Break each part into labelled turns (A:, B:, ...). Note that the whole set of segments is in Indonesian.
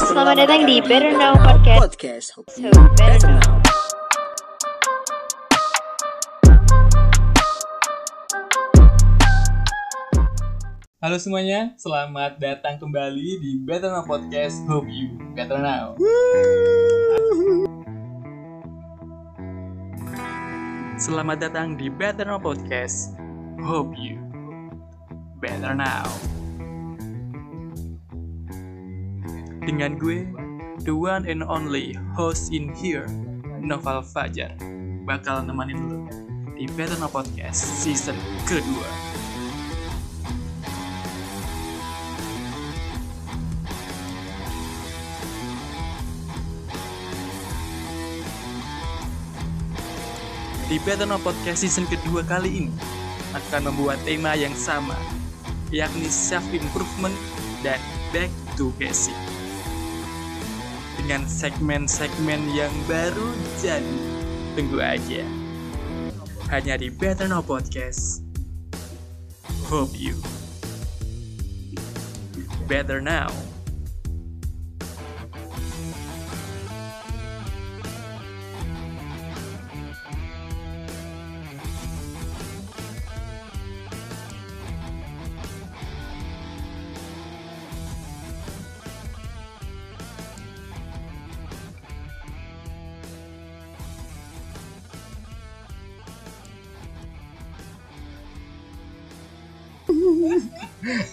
A: selamat datang di Better Now Podcast.
B: Podcast.
A: So, better now.
C: Halo semuanya, selamat datang kembali di Better Now Podcast Hope You Better Now Selamat datang di Better Now Podcast Hope You Better Now Dengan gue, the one and only host in here, Noval Fajar Bakal nemenin lo di Better Now Podcast season kedua Di Better Now Podcast season kedua kali ini akan membuat tema yang sama, yakni self improvement dan back to basic. Dengan segmen-segmen yang baru jadi, tunggu aja. Hanya di Better Now Podcast. Hope you better now.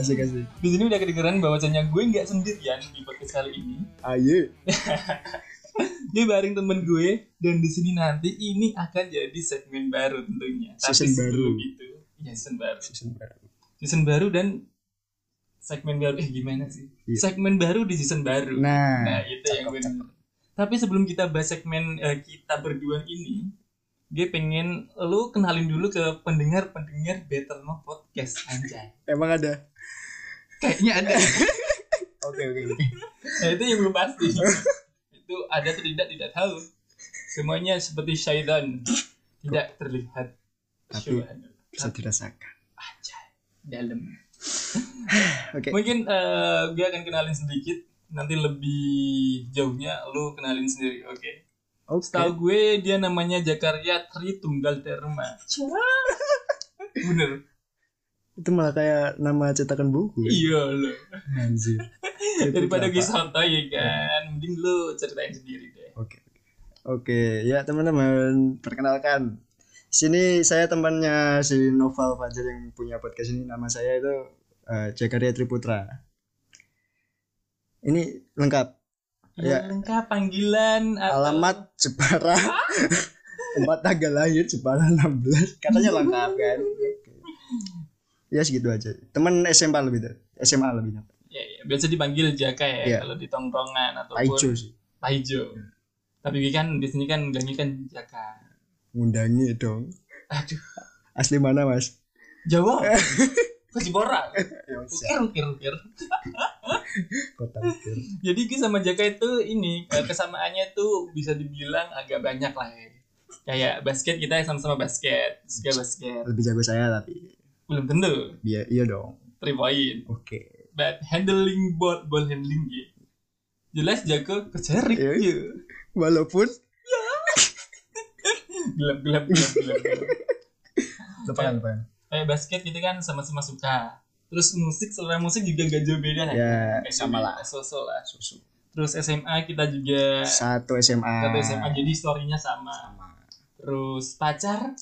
B: Asik asik.
C: Di sini udah kedengeran bahwasannya gue nggak sendirian di podcast kali ini.
B: Ayo.
C: Gue bareng temen gue dan di sini nanti ini akan jadi segmen baru tentunya.
B: Season
C: sebelum
B: baru.
C: Itu, iya season baru.
B: Season baru.
C: Season baru dan segmen baru eh gimana sih?
B: Iya.
C: Segmen baru di season baru. Nah,
B: Nah,
C: itu yang
B: cakep,
C: gue.
B: cakep.
C: Tapi sebelum kita bahas segmen eh, kita berdua ini, gue pengen lu kenalin dulu ke pendengar-pendengar Better No Podcast anjay.
B: Emang ada.
C: Kayaknya ada.
B: Oke oke oke.
C: Nah itu yang belum pasti. itu ada atau tidak tidak tahu. Semuanya seperti syaitan tidak terlihat.
B: Tapi-
C: Syaitan.
B: Bisa dirasakan.
C: Anjay. dalam.
B: Oke.
C: Mungkin eh, gue akan kenalin sedikit. Nanti lebih jauhnya lu kenalin sendiri. Oke.
B: Oke.
C: Setahu gue dia namanya Jakarta Tri Tunggal Terma. Bener.
B: Itu malah kayak nama cetakan buku.
C: Iya lo.
B: Anjir. Itu
C: Daripada
B: kenapa?
C: gue santai ya kan. Mending lu ceritain sendiri deh.
B: Oke. Oke, ya teman-teman, perkenalkan. Sini saya temannya si Noval Fajar yang punya podcast ini. Nama saya itu eh, Jakaria Triputra. Ini lengkap.
C: Ya.
B: Ya.
C: Lengkap panggilan atau-
B: Alamat Jepara. Tempat tanggal lahir Jepara 16. Katanya lengkap kan. Oke. Ya segitu aja. Teman SMA lebih tuh. SMA lebih tuh.
C: Ya, ya, biasa dipanggil Jaka ya
B: Iya.
C: kalau di tongkrongan ataupun
B: Taijo sih.
C: Taijo. Tapi gue kan di sini kan bilangnya kan Jaka.
B: Ngundangi dong.
C: Aduh,
B: Asli mana, Mas?
C: Jawa. Kejibora.
B: Ya,
C: Ukir, ukir, ukir.
B: Kota Bogor.
C: Jadi gue sama Jaka itu ini eh, kesamaannya tuh bisa dibilang agak banyak lah ya. Kayak basket kita sama-sama basket, suka basket.
B: Lebih jago saya tapi.
C: Belum tentu
B: Iya, iya dong.
C: three point,
B: Oke.
C: but handling ball, ball handling gitu. Jelas Jaka kejerik.
B: Iya, iya. Walaupun
C: Gelap, gelap, gelap, gelap. gelap. Lupakan,
B: lupakan.
C: kayak basket gitu kan sama-sama suka terus musik selera musik juga gak jauh beda lah
B: Ya,
C: Gak jauh
B: sama
C: beda,
B: lah.
C: so-so lah terus SMA kita juga
B: Satu SMA.
C: kata SMA jadi storynya Ah. sama terus pacar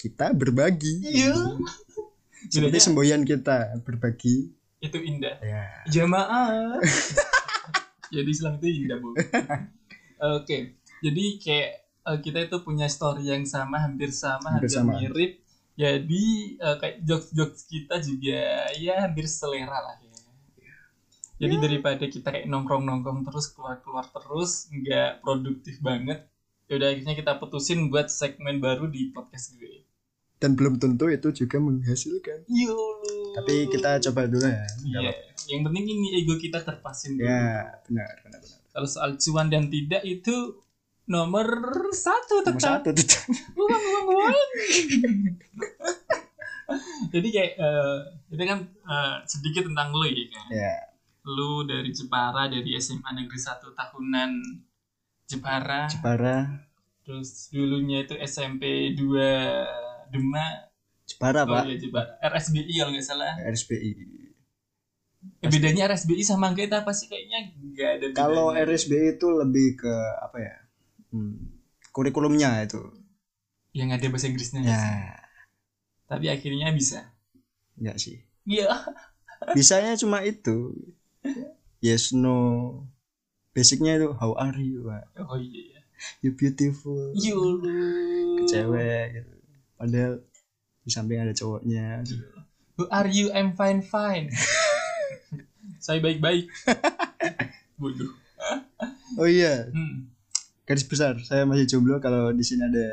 B: Kita berbagi.
C: iya
B: Seperti
C: Bedanya-
B: semboyan kita berbagi.
C: itu indah
B: Ya.
C: jamaah jadi Islam itu indah bu oke jadi kayak eh, kita itu punya story yang sama hampir sama hampir,
B: Hampir sama.
C: mirip jadi eh, kayak jokes-jokes kita juga ya hampir selera lah ya jadi daripada kita kayak nongkrong-nongkrong terus keluar-keluar terus nggak produktif banget yaudah akhirnya kita putusin buat segmen baru di podcast gue
B: Dan belum tentu itu juga menghasilkan.
C: Yo.
B: Tapi kita coba dulu ya.
C: Iya. yang penting ini ego kita terpasin dulu.
B: Ya, benar, benar, benar.
C: Kalau soal cuan dan tidak itu nomor satu tetap.
B: Nomor satu tetap.
C: Uang, uang, uang. Jadi kayak eh, itu kan eh, sedikit tentang lo ya. Kan?
B: Ya.
C: lu dari Jepara dari SMA Negeri 1 tahunan Jepara
B: Jepara
C: terus dulunya itu SMP 2 Demak oh
B: Jepara pak
C: iya Jepara RSBI kalau nggak salah
B: RSBI
C: Eh, bedanya RSBI sama kita apa sih kayaknya nggak ada bedanya.
B: kalau RSBI itu lebih ke apa ya hmm, kurikulumnya itu
C: yang ada bahasa Inggrisnya nggak sih?
B: ya
C: tapi akhirnya bisa
B: ya sih
C: iya
B: bisanya cuma itu yes no basicnya itu how are you Wak?
C: oh iya
B: you beautiful
C: Yulu
B: ke cewek gitu. padahal di samping ada cowoknya
C: Who are you? I'm fine fine saya baik baik bodoh
B: oh iya
C: hmm.
B: garis besar saya masih jomblo kalau di sini ada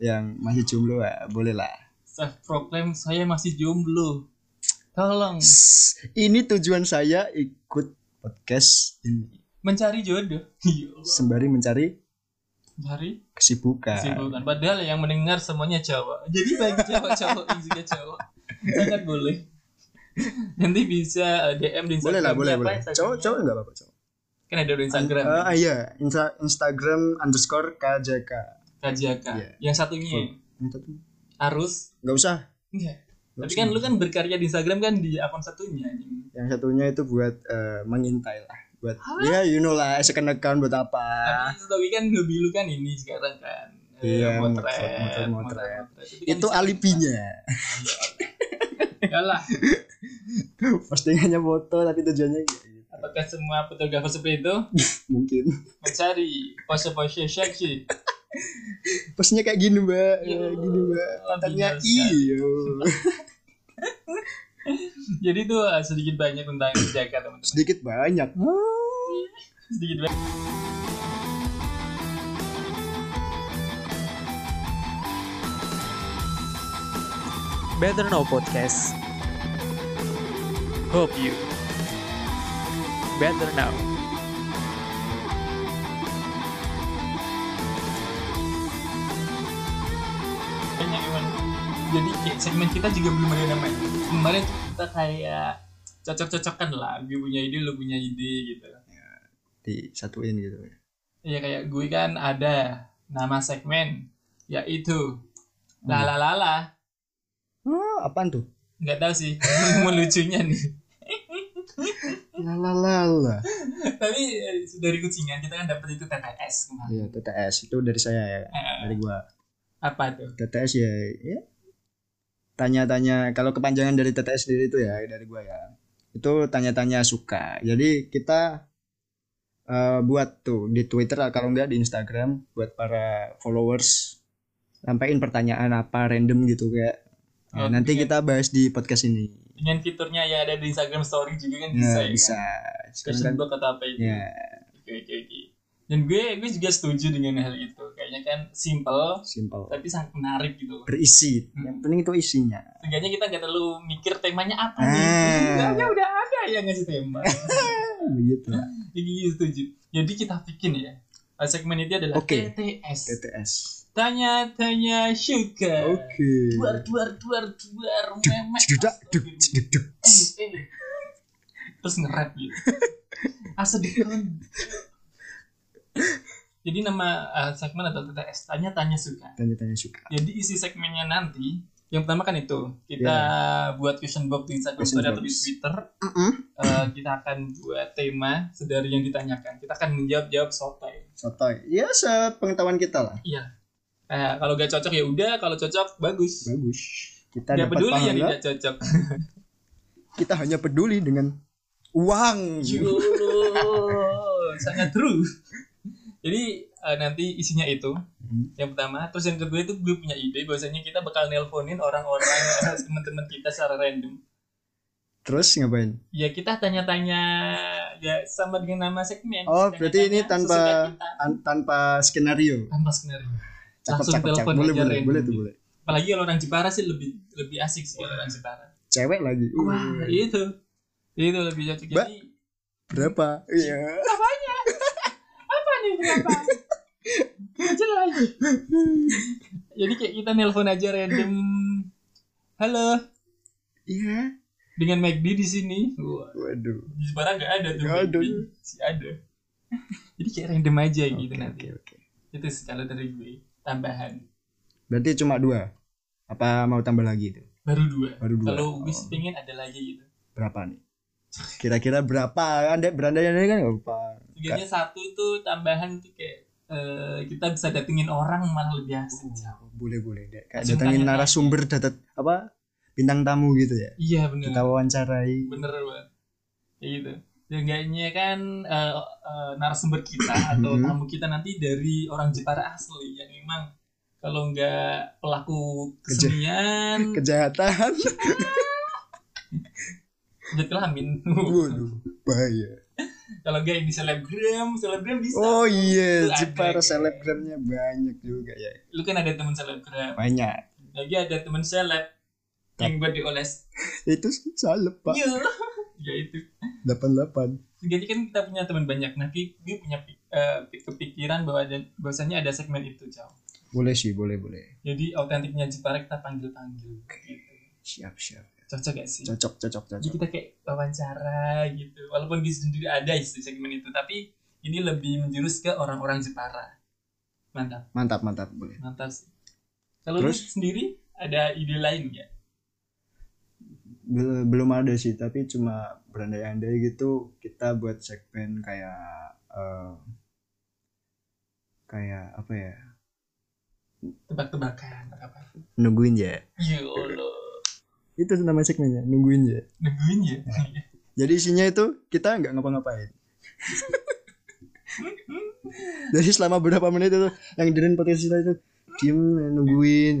B: yang masih jomblo ya boleh lah
C: self proclaim saya masih jomblo tolong
B: ini tujuan saya ikut podcast ini
C: mencari jodoh Iya.
B: sembari mencari
C: mencari
B: Ya. kesibukan,
C: Sibukan. Padahal yang mendengar semuanya Jawa. Jadi bagi cowok-cowok yang juga Jawa sangat boleh. Nanti bisa eh, DM di Instagram.
B: boleh lah boleh
C: Siapa
B: boleh
C: Instagramnya?
B: cowok cowok nggak apa-apa cowok
C: Kan ada di Instagram.
B: Eh, ah, iya Insta- Instagram underscore KJK
C: KJK.
B: Iya.
C: Yang satunya
B: Entah tuh.
C: harus
B: nggak usah
C: enggak.
B: Nggak
C: Tapi
B: usah.
C: kan lu kan berkarya di Instagram kan di akun satunya. anjing.
B: yang satunya itu buat eh, mengintai lah buat ya you know lah second account buat apa
C: Tapi setahu kan hobi lu kan ini sekarang kan. Eh,
B: Ah. Iya,
C: motret,
B: motret, motret, motret.
C: motret.
B: itu
C: kan
B: alibinya
C: bisa- enggak lah.
B: postingannya foto tapi tujuannya kayak gitu.
C: Apakah semua fotografer seperti itu
B: mungkin
C: mencari pose-pose seksi?
B: posnya kayak gini mbak
C: Iya.
B: Ya, gini mbak iya. pantatnya
C: Bingung sekali.
B: iyo
C: Jadi itu eh, sedikit banyak tentang Jakarta teman-teman.
B: sedikit banyak
C: Sedikit banyak.
D: Better Now Podcast. Hope you better now.
C: Banyak emang. Jadi kayak segmen kita juga belum ada namanya. Kemarin tuh kita kayak cocok-cocokan lah. Gue punya ide, lo punya ide gitu.
B: disatuin gitu
C: Iya kayak gue kan ada nama segmen yaitu lalalala.
B: oh, apaan tuh
C: Nggak tahu sih mau lucunya nih.
B: lalalala
C: Tapi eh, dari kucingan kita kan dapet itu TTS kemarin.
B: iya TTS itu dari saya ya
C: Eh,
B: dari gua
C: apa tuh?
B: TTS ya ya tanya-tanya kalau kepanjangan dari TTS sendiri itu ya dari gua ya itu tanya-tanya suka jadi kita eh, buat tuh di Twitter kalau enggak di Instagram buat para followers sampaiin pertanyaan apa random gitu kayak
C: Oh,
B: Nah, nanti
C: iya.
B: kita bahas di podcast ini
C: Dengan fiturnya ya ada di Instagram Story juga kan bisa.
B: ya
C: ya
B: bisa
C: Kan?
B: Sekarang
C: Question
B: kan-
C: block atau apa itu?
B: ya
C: Oke oke oke. Dan gue gue juga setuju dengan hal itu. Kayaknya kan simple
B: simple
C: tapi sangat menarik gitu.
B: berisi
C: Hmm.
B: yang penting itu isinya
C: Seenggaknya kita nggak terlalu mikir temanya apa
B: Ah.
C: nih. Seenggaknya udah ada yang ngasih tema.
B: begitu
C: Jadi gue setuju. Jadi kita bikin ya. Eh, Segmen itu adalah
B: Oke.
C: TTS.
B: TTS
C: Tanya-tanya sugar.
B: oke
C: Duar duar duar duar memek.
B: Cedudak, duk,
C: Astagfirullah.
B: ceduk, duk.
C: Eh, eh. Terus nge-rap gitu. Asedikun. Jadi nama eh, segmen atau TTS tanya-tanya suka.
B: tanya-tanya suka
C: Jadi isi segmennya nanti yang pertama kan itu kita buat question box di Instagram
B: Iya. Question
C: Story atau di
B: box.
C: Twitter. Eh, kita akan buat tema sedari yang ditanyakan. Kita akan menjawab jawab sotai.
B: sotoy ya sepengetahuan kita lah
C: Iya. Eh, kalau gak cocok ya udah, kalau cocok bagus.
B: bagus kita
C: Gak
B: dapat
C: peduli yang
B: pahala Iya.
C: tidak cocok.
B: kita hanya peduli dengan uang
C: Yuluh, sangat true. Jadi eh, nanti isinya itu
B: Hmm.
C: yang pertama, terus yang kedua itu gue punya ide bahwasanya kita bakal nelponin orang-orang eh, teman-teman kita secara random.
B: terus ngapain
C: ya kita tanya-tanya ya sama dengan nama segmen.
B: oh berarti ini
C: Tanya-tanya sesuka
B: tanpa
C: kita.
B: tan- tanpa skenario
C: tanpa skenario.
B: cakep
C: Langsung
B: cakep cakep
C: telepon aja
B: boleh boleh
C: random.
B: boleh tuh boleh
C: Apalagi kalau orang Jepara sih lebih lebih asik sih kalau orang Jepara.
B: cewek lagi
C: Wah, iya. itu. Itu lebih cocok.
B: Mbak.
C: Jadi
B: berapa iya
C: apa nih kenapa? Nggak Jelas. Jadi kayak kita nelpon aja random. Halo,
B: iya
C: dengan McD di sini. Wah,
B: Waduh.
C: di Semarang nggak ada tuh
B: Nggak ada.
C: McD. Si ada. Jadi kayak random aja
B: Oke,
C: gitu nanti.
B: oke, oke.
C: Itu sih kalau dari gue tambahan.
B: Berarti cuma dua. Apa mau tambah lagi itu?
C: Baru dua.
B: Baru dua.
C: Kalau
B: Oh.
C: wis pengen ada lagi gitu.
B: Berapa nih? Kira-kira berapa? Anda berandai-andai kan nggak apa.
C: Biasanya satu itu tambahan tuh kayak eh, kita bisa datengin orang malah lebih asik.
B: Iya, Oh. Boleh-boleh deh. Kayak
C: Langsung
B: datangin
C: tanya-tanya.
B: narasumber datat apa? Bintang tamu gitu ya.
C: Iya bener.
B: Kita wawancarai.
C: bener banget kayak gitu seenggaknya kan eh, eh, narasumber kita atau
B: Mhm.
C: tamu kita nanti dari orang Jepara asli yang memang kalau nggak pelaku
B: Kerja.
C: kesenian
B: Kejahatan.
C: jadi ya kelamin
B: Waduh, bahaya.
C: kalau nggak yang di selebgram selebgram bisa
B: Oh
C: Itu
B: iya,
C: ada,
B: Jepara
C: kayak.
B: selebgramnya banyak juga ya.
C: lu kan ada teman selebgram
B: Banyak.
C: lagi ada teman seleb yang buat dioles
B: Itu salep, Pak.
C: Iya. ya itu
B: 88.
C: jadi kan kita punya teman banyak nanti gue punya pi- eh, kepikiran bahwa ada bahwasanya ada segmen itu jauh
B: Boleh sih, boleh, boleh.
C: jadi autentiknya Jepara kita panggil panggil gitu.
B: Siap, siap.
C: cocok gak sih
B: Cocok, cocok,
C: jadi
B: cocok.
C: kita kayak wawancara gitu walaupun di sendiri ada sih segmen itu tapi ini lebih menjurus ke orang-orang Jepara mantap
B: Mantap, mantap, boleh.
C: mantap sih kalau lu
B: Terus?
C: sendiri ada ide lain nggak
B: Bel- belum ada sih tapi cuma berandai-andai gitu kita buat segmen kayak eh, kayak apa ya
C: tebak-tebakan atau apa
B: nungguin ya
C: Yolo
B: itu nama segmennya nungguin ya
C: nungguin ya
B: jadi isinya itu kita nggak ngapa-ngapain jadi selama berapa menit itu yang dengerin podcast kita itu diem nungguin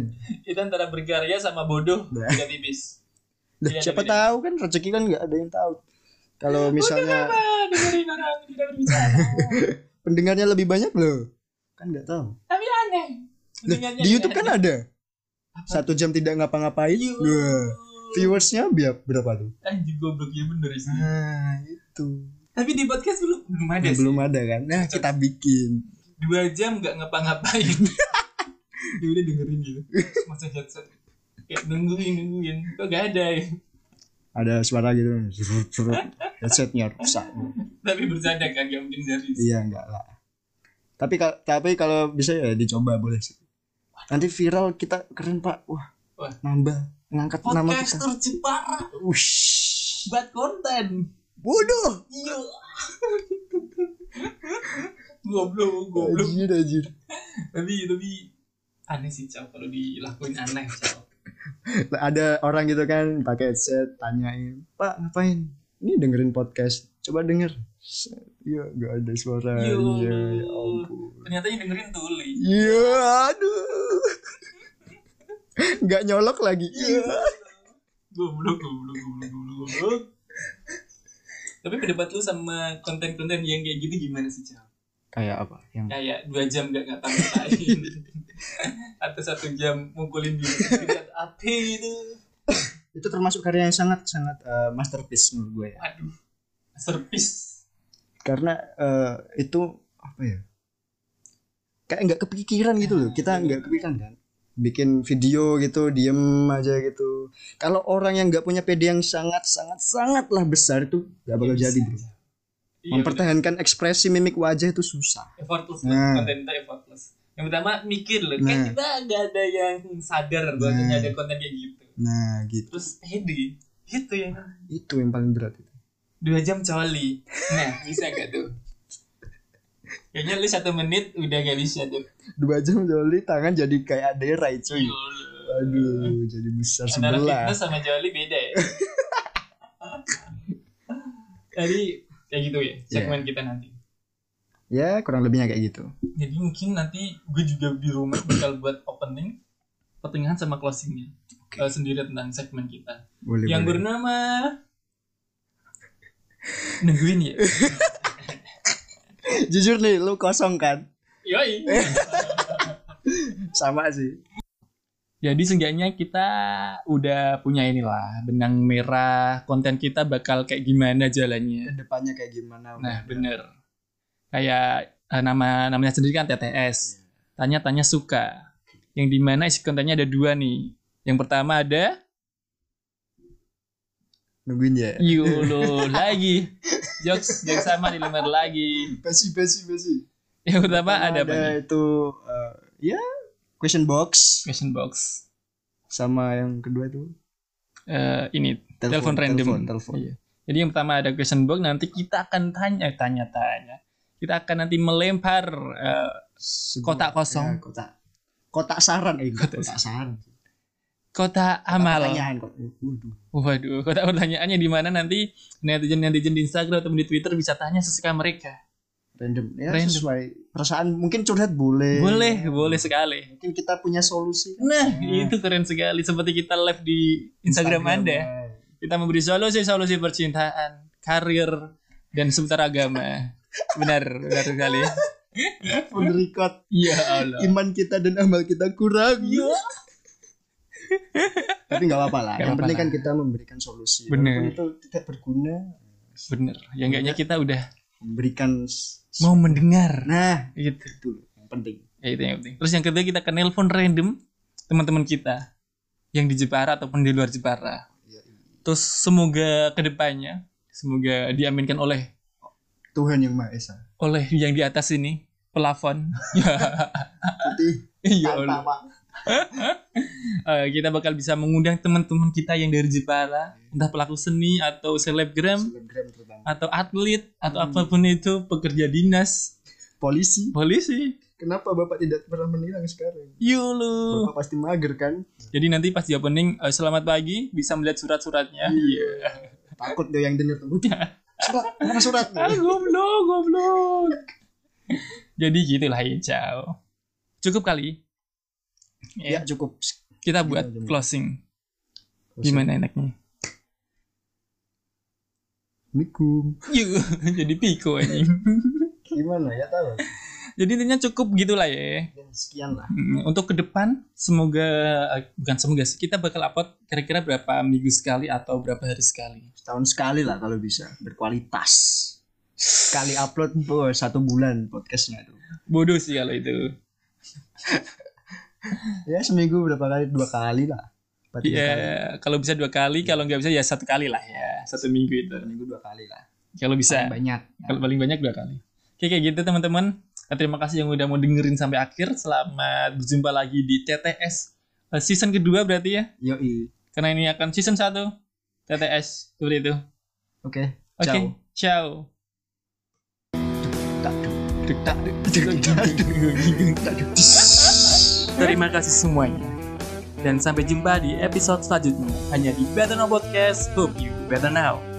C: itu antara berkarya sama bodoh
B: Nah.
C: tidak tipis Iya,
B: Lah, siapa
C: dengerin.
B: tahu kan rezeki kan nggak ada yang tahu kalau misalnya
C: ah dengerin orang tidak berbicara
B: pendengarnya lebih banyak loh kan nggak tahu
C: tapi aneh
B: Lah, di YouTube kan ada. Satu jam tidak ngapa-ngapain. Wah, Viewersnya biar berapa tuh?
C: anjing goblok ya bener sih
B: Nah, itu.
C: Tapi di podcast belum belum ada sih.
B: Belum ada kan? Nah, kita bikin.
C: Dua jam nggak ngapa-ngapain. ya udah dengerin gitu. Masa headset. Kayak nungguin nungguin. Kok nggak ada ya?
B: Ada suara gitu. Zrrrt, zrrrt. Headsetnya rusak.
C: Tapi bercanda kan nggak mungkin serius.
B: Iya, enggak lah. Tapi kal- tapi kalau bisa ya dicoba boleh sih. Nanti viral kita keren, Pak. Wah,
C: Wah.
B: nambah ngangkat nama kita.
C: Podcaster Jepara
B: Wush.
C: buat konten.
B: Bodoh.
C: Iya. goblok goblok.
B: Anjir, anjir.
C: Tapi tapi aneh sih cow kalau dilakuin aneh cow.
B: ada orang gitu kan pakai headset tanyain pak ngapain ini dengerin podcast coba denger Set, iya gak ada suara iya
C: Yo.
B: ya ampun
C: Ternyata yang dengerin tuli.
B: iya aduh nggak nyolok lagi iya
C: goblok goblok goblok goblok goblok tapi pendapat lu sama konten-konten yang kayak gitu gimana sih Cal?
B: kayak apa yang
C: kayak dua jam gak ngapa-ngapain atau satu jam mukulin diri sendiri atau apa gitu. itu
B: itu termasuk karya yang sangat sangat eh, masterpiece menurut gue ya
C: aduh service
B: karena eh, itu apa ya kayak nggak kepikiran gitu loh kita nggak kepikiran kan bikin video gitu diem aja gitu kalau orang yang nggak punya PD yang sangat sangat sangatlah besar itu nggak bakal jadi bro
C: iya, bener.
B: mempertahankan ekspresi mimik wajah itu susah
C: effortless lah
B: Nah.
C: konten itu effortless yang pertama mikir loh kan
B: Nah.
C: kita gak ada yang sadar bahwa
B: Nah.
C: ada konten kayak gitu
B: nah gitu
C: terus pede gitu ya
B: itu yang paling berat itu
C: dua jam coli nah bisa gak tuh kayaknya lu satu menit udah gak bisa tuh
B: dua jam joli tangan jadi kayak aderai cuy
C: Yolo.
B: aduh jadi besar
C: antara
B: sebelah
C: fitness sama joli beda ya jadi kayak gitu
B: Iya.
C: ya segmen kita nanti
B: ya kurang lebihnya kayak gitu
C: jadi mungkin nanti gue juga di rumah bakal buat opening pertengahan sama closingnya Eh, sendiri tentang segmen kita
B: boleh
C: yang
B: boleh.
C: bernama nungguin ya
B: jujur nih lu kosong kan
C: yoi
B: sama sih
C: Jadi seenggaknya kita udah punya inilah benang merah konten kita bakal kayak gimana jalannya.
B: depannya kayak gimana
C: Nah bener. Kayak eh, nama namanya sendiri kan TTS. Tanya-tanya suka. Yang dimana isi kontennya ada dua nih. Yang pertama ada
B: nungguin ya
C: Iya. Yulu lagi. Jokes jokes sama di lembar lagi.
B: basi basi basi
C: Yang pertama ada apa nih?
B: itu eh, ya question box
C: Question box.
B: sama yang kedua tuh
C: Eh, ini telepon,
B: Telepon,
C: random.
B: telepon, telepon.
C: Iya. Jadi yang pertama ada question box nanti kita akan tanya tanya tanya. Kita akan nanti melempar eh,
B: sebuah-
C: kotak
B: ya,
C: kosong,
B: kotak kotak saran eh
C: Kotak Ah,
B: kotak, kotak saran
C: kotak amal.
B: pertanyaan kok Eh, waduh
C: Waduh, kotak pertanyaannya di mana nanti netizen-netizen di Instagram atau di Twitter bisa tanya sesuka mereka.
B: random ya
C: Random.
B: sesuai perasaan mungkin curhat boleh
C: Boleh, boleh sekali.
B: mungkin kita punya solusi
C: Nah, itu keren sekali seperti kita live di Instagram, Anda.
B: ya.
C: Kita memberi solusi-solusi percintaan, karir, dan seputar agama. Benar, benar sekali.
B: Menerikat
C: Ya Allah.
B: iman kita dan amal kita kurang.
C: Iya.
B: Tapi nggak apa-apa lah.
C: Nggak
B: Yang
C: apa-apa
B: penting kan
C: lah.
B: kita memberikan solusi.
C: Bener.
B: Walaupun itu tidak berguna,
C: Benar. Ya enggaknya kita udah
B: memberikan s-
C: mau mendengar.
B: Nah,
C: Gitu.
B: itu yang penting.
C: Ya, itu yang penting. Terus yang kedua kita akan nelpon random teman-teman kita yang di Jepara ataupun di luar Jepara. Terus semoga kedepannya semoga diaminkan oleh
B: Tuhan yang Maha Esa.
C: oleh yang di atas ini pelafon. Ya.
B: Putih
C: Iya. Allah.
B: tanpa apa.
C: Eh, kita bakal bisa mengundang teman-teman kita yang dari Jepara, entah pelaku seni atau selebgram
B: Selebgram terutama.
C: atau atlet atau apapun itu pekerja dinas,
B: Polisi.
C: polisi.
B: Kenapa Bapak tidak pernah menilang sekarang?
C: Yulu.
B: Bapak pasti mager kan?
C: Jadi nanti pas di opening eh, selamat pagi bisa melihat surat-suratnya. Iya.
B: Takut tuh yang dengar tuh. Surat, mana surat?
C: Ah, goblok, goblok. Jadi gitulah ya, ciao. Cukup kali. Ya,
B: Ya cukup.
C: kita buat
B: Gitu aja.
C: closing. Gimana enaknya?
B: Assalamualaikum.
C: Yuh, jadi piko anjing.
B: Gimana ya tahu?
C: Jadi intinya cukup gitulah ya.
B: Dan sekian lah.
C: Hmm, Untuk ke depan semoga eh, bukan semoga sih kita bakal upload kira-kira berapa minggu sekali atau berapa hari sekali.
B: Setahun sekali lah kalau bisa berkualitas. Sekali upload oh, satu bulan podcastnya tuh.
C: Bodoh sih kalau itu.
B: Ya seminggu berapa kali? Dua kali lah. Apa tiga
C: Iya,
B: kali?
C: kalau bisa dua kali, kalau nggak bisa ya satu kali lah ya, satu minggu itu.
B: Seminggu dua kali lah.
C: Kalau bisa,
B: Paling Banyak.
C: kalau Kan paling banyak dua kali. Oke, kayak gitu teman-teman. Nah, Terima kasih yang udah mau dengerin sampai akhir. Selamat berjumpa lagi di TTS eh, season kedua berarti ya,
B: Yoi.
C: karena ini akan season satu TTS seperti itu.
B: Oke.
C: Oke,
B: Ciao.
C: ciao. Terima kasih semuanya. Dan sampai jumpa di episode selanjutnya. Hanya di Better Now Podcast. Hope you better now.